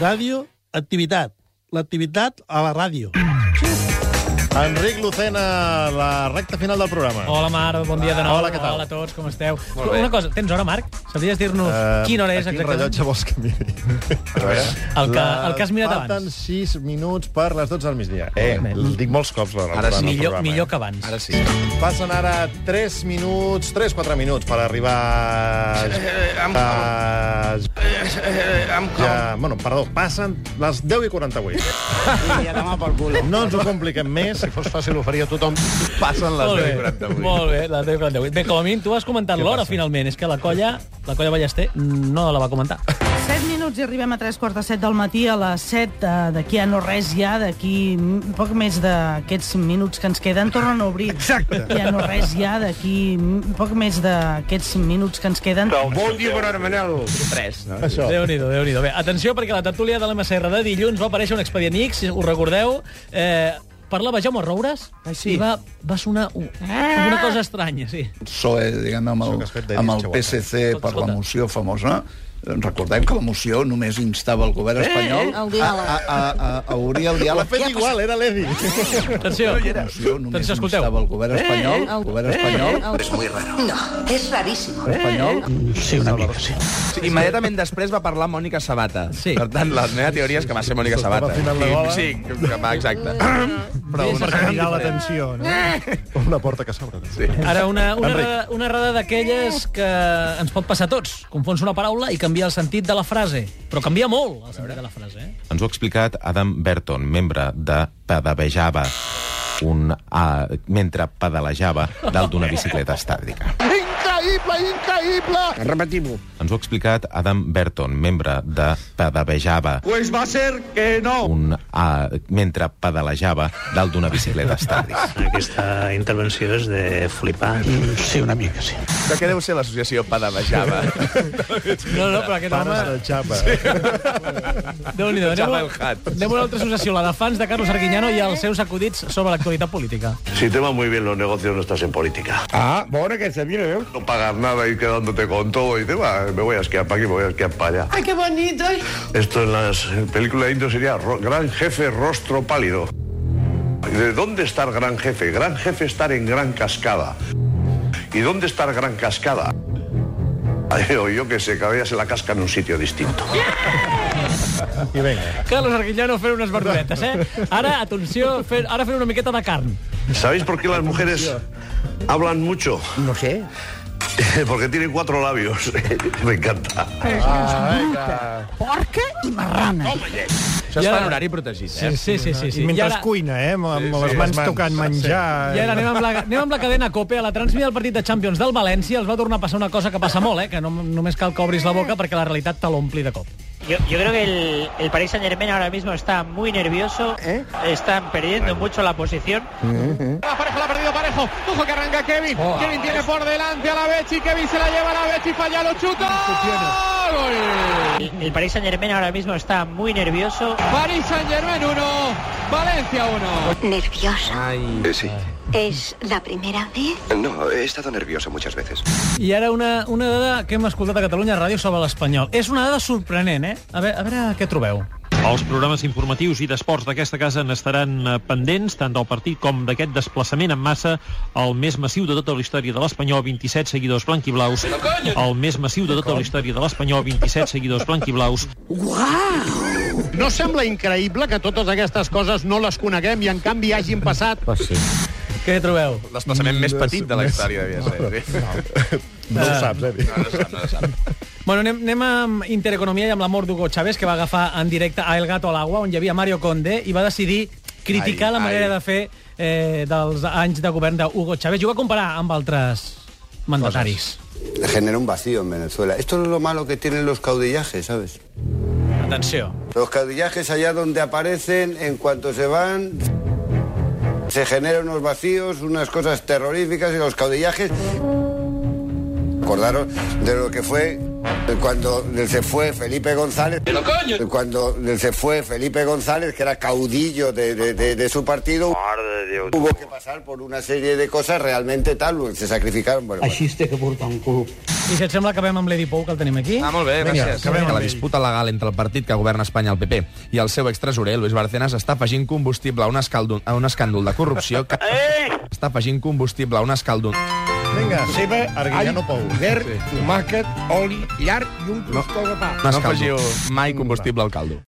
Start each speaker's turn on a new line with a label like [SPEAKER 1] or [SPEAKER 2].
[SPEAKER 1] Ràdio, activitat. L'activitat a la ràdio.
[SPEAKER 2] Enric Lucena, la recta final del programa.
[SPEAKER 3] Hola, Marc, bon dia de nou.
[SPEAKER 2] Hola, què tal?
[SPEAKER 3] Hola a tots, com esteu?
[SPEAKER 4] Molt bé.
[SPEAKER 3] Una cosa, tens hora, Marc? Sabries dir-nos
[SPEAKER 2] Eh,
[SPEAKER 3] quina hora és
[SPEAKER 2] a quin
[SPEAKER 3] exactament?
[SPEAKER 2] rellotge vols que miri?
[SPEAKER 4] A veure.
[SPEAKER 3] El que, el que has mirat
[SPEAKER 2] Falten
[SPEAKER 3] abans.
[SPEAKER 2] 6 minuts per les 12 del migdia. Eh,
[SPEAKER 3] Molt bé.
[SPEAKER 2] el dic molts cops la
[SPEAKER 4] Ara sí.
[SPEAKER 2] durant el
[SPEAKER 3] Millor,
[SPEAKER 2] programa,
[SPEAKER 3] millor
[SPEAKER 2] eh?
[SPEAKER 3] que abans.
[SPEAKER 4] Ara sí.
[SPEAKER 2] Passen ara 3 minuts, 3-4 minuts per arribar...
[SPEAKER 5] Eh,
[SPEAKER 2] A... Ja, bueno, perdó, passen les 10 i 48.
[SPEAKER 5] I a tomar pel culo.
[SPEAKER 2] No ens ho compliquem més. Si fos fàcil, ho faria tothom.
[SPEAKER 4] Passen les
[SPEAKER 3] Molt
[SPEAKER 4] 10 i
[SPEAKER 3] bé,
[SPEAKER 4] 48.
[SPEAKER 3] molt bé, les 10 i 48. Bé, com a mínim, tu has comentat l'hora, finalment. És que la colla, la colla Ballester, no la va comentar.
[SPEAKER 6] 7 minuts i arribem a 3 quarts de 7 del matí, a les 7 eh, d'aquí a no res ja, d'aquí mm, poc més d'aquests minuts que ens queden, tornen a obrir. Exacte. D'aquí a no res ja, d'aquí mm, poc més d'aquests minuts que ens queden.
[SPEAKER 7] Bon dia, bona hora, Manel.
[SPEAKER 2] Això.
[SPEAKER 3] Déu-n'hi-do, déu nhi déu Bé, atenció, perquè a la tertúlia de l'MSR de dilluns va aparèixer un expedient X, si us recordeu, eh, parlava Jaume Roures
[SPEAKER 5] Ai, sí.
[SPEAKER 3] i va, va sonar un, una cosa estranya, sí.
[SPEAKER 8] PSOE, diguem amb
[SPEAKER 2] Això que
[SPEAKER 8] el,
[SPEAKER 2] has fet de
[SPEAKER 8] amb
[SPEAKER 2] dir,
[SPEAKER 8] el
[SPEAKER 2] xavota.
[SPEAKER 8] PSC per la
[SPEAKER 3] escolta.
[SPEAKER 8] moció famosa. Recordem que la moció només instava el govern espanyol
[SPEAKER 5] el
[SPEAKER 8] a,
[SPEAKER 5] diàleg.
[SPEAKER 8] a, a, a, a obrir el
[SPEAKER 2] L'ha
[SPEAKER 8] diàleg.
[SPEAKER 2] fet igual, era l'Edi.
[SPEAKER 3] Atenció.
[SPEAKER 8] La moció només
[SPEAKER 3] Atenció, escolteu.
[SPEAKER 8] instava el govern espanyol, el govern espanyol,
[SPEAKER 5] Es muy raro. ¿Eh? No, es rarísimo.
[SPEAKER 8] espanyol
[SPEAKER 4] Sí, Immediatament després va parlar Mònica Sabata.
[SPEAKER 3] Sí.
[SPEAKER 4] Per tant, la meva teoria és que va ser Mònica Sabata.
[SPEAKER 2] Estava afinant la gola.
[SPEAKER 4] Sí, sí, que va, exacte. Però una
[SPEAKER 7] Cridar l'atenció, no?
[SPEAKER 2] Eh! Una porta que s'obre.
[SPEAKER 4] Sí.
[SPEAKER 3] Ara, una, una,
[SPEAKER 2] Enric.
[SPEAKER 3] rada, una rada d'aquelles que ens pot passar a tots. Confons una paraula i canvia el sentit de la frase. Però canvia molt el sentit de la frase, eh?
[SPEAKER 9] Ens ho ha explicat Adam Berton, membre de Pedavejava, un, a, mentre pedalejava dalt d'una bicicleta estàtica.
[SPEAKER 2] Increïble, increïble!
[SPEAKER 7] Repetim-ho.
[SPEAKER 9] Ens ho ha explicat Adam Berton, membre de Pedavejava,
[SPEAKER 7] Pues va ser que no.
[SPEAKER 9] un, a, mentre pedalejava dalt d'una bicicleta estàtica.
[SPEAKER 10] Aquesta intervenció és de flipar. Sí, una mica, sí.
[SPEAKER 4] De què deu ser l'associació Padabajava?
[SPEAKER 3] No, no, però aquest home...
[SPEAKER 2] Pares de xapa. Sí.
[SPEAKER 3] Déu-n'hi-do.
[SPEAKER 4] Java
[SPEAKER 3] Anem,
[SPEAKER 4] el Hat.
[SPEAKER 3] anem a una altra associació, la de fans de Carlos Arguiñano i els seus acudits sobre l'actualitat política.
[SPEAKER 10] Si te va muy bien los negocios, no estás en política.
[SPEAKER 7] Ah, bona que se mira, veus?
[SPEAKER 10] No pagas nada y quedándote con todo. Y te va, me voy a esquiar para aquí, me voy a esquiar para allá. ¡Ay, qué bonito! Esto en las películas indio sería ro- Gran Jefe Rostro Pálido. ¿De dónde está el gran jefe? Gran jefe estar en Gran Cascada. ¿Y dónde está el Gran Cascada? Ay, O yo que sé, cada día se la casca en un sitio distinto.
[SPEAKER 2] I vinga.
[SPEAKER 3] Carlos Arguiñano fent unes verduretes, eh? Ara, atenció, fent, ara fent una miqueta de carn.
[SPEAKER 10] ¿Sabéis por qué las mujeres hablan mucho?
[SPEAKER 5] No sé.
[SPEAKER 10] Porque tienen cuatro labios. Me encanta.
[SPEAKER 5] Porca i marrana.
[SPEAKER 4] Això
[SPEAKER 3] I
[SPEAKER 4] es
[SPEAKER 3] ara-
[SPEAKER 4] fa en horari protegit, eh?
[SPEAKER 3] Sí, sí, sí. sí, sí.
[SPEAKER 7] I mentre
[SPEAKER 3] I
[SPEAKER 7] es
[SPEAKER 3] ara,
[SPEAKER 7] cuina, eh? Amb, amb les mans tocant menjar. eh?
[SPEAKER 3] I ara anem amb, la, anem amb la cadena COPE. A la transmissió del partit de Champions del València els va tornar a passar una cosa que passa molt, eh? que no, només cal que obris la boca perquè la realitat te l'ompli de cop.
[SPEAKER 11] Yo, yo creo que el, el Paris Saint Germain ahora mismo está muy nervioso, están perdiendo mucho la posición.
[SPEAKER 7] Parejo la ha perdido Parejo. Ojo que arranca Kevin.
[SPEAKER 3] Oh,
[SPEAKER 7] Kevin tiene por delante a la Bechi. Kevin se la lleva a la Bechi. Falla los chutos.
[SPEAKER 11] El, el Paris Saint Germain ahora mismo está muy nervioso.
[SPEAKER 7] París Saint Germain 1, Valencia 1.
[SPEAKER 5] Nervioso.
[SPEAKER 10] Eh, sí.
[SPEAKER 5] És la primera vez?
[SPEAKER 10] No, he estado nervioso muchas veces.
[SPEAKER 3] I ara una, una dada que hem escoltat a Catalunya Ràdio sobre l'Espanyol. És una dada sorprenent, eh? A veure, a veure què trobeu.
[SPEAKER 10] Els programes informatius i d'esports d'aquesta casa n'estaran eh, pendents, tant del partit com d'aquest desplaçament en massa, el més massiu de tota la història de l'Espanyol, 27 seguidors blanquiblaus, el més massiu de tota la història de l'Espanyol, 27 seguidors blanquiblaus,
[SPEAKER 7] No sembla increïble que totes aquestes coses no les coneguem i en canvi hagin passat.
[SPEAKER 3] Què trobeu?
[SPEAKER 4] L'esplaçament més petit de eh? la història devia ser.
[SPEAKER 2] No ho saps, eh? Edi.
[SPEAKER 4] No, no sap, no sap.
[SPEAKER 3] Bueno, anem, anem amb Intereconomia i amb la mort d'Hugo Chávez, que va agafar en directe a El Gato al Agua, on hi havia Mario Conde, i va decidir criticar
[SPEAKER 4] Ai,
[SPEAKER 3] la manera
[SPEAKER 4] ai.
[SPEAKER 3] de fer eh, dels anys de govern d'Hugo Chávez. I ho va comparar amb altres mandataris.
[SPEAKER 10] genera un vacío en Venezuela. Esto es lo malo que tienen los caudillajes, ¿sabes?
[SPEAKER 3] Atenció.
[SPEAKER 10] Los caudillajes allá donde aparecen, en cuanto se van, se generan unos vacíos, unas cosas terroríficas y los caudillajes... Acordaros de lo que fue
[SPEAKER 12] Cuando se fue Felipe González, cuando se fue Felipe González, que era caudillo de, de- de- de su partido, hubo que pasar por una serie de cosas realmente tal, se sacrificaron. Bueno, bueno.
[SPEAKER 3] té que portar un cul. I si et sembla, acabem amb l'Edi Pou, que el tenim aquí.
[SPEAKER 4] Ah, molt bé, gràcies. que la disputa legal entre el partit que governa Espanya, el PP, i el seu extresorer, Luis Barcenas, està afegint combustible a un, escàndol, a un escàndol de corrupció que... està afegint combustible a un escàndol...
[SPEAKER 2] Vinga, ceba, arguillano pou. Verd, tomàquet, oli, llarg i un costó de pa.
[SPEAKER 4] Un escàndol. mai combustible al caldo.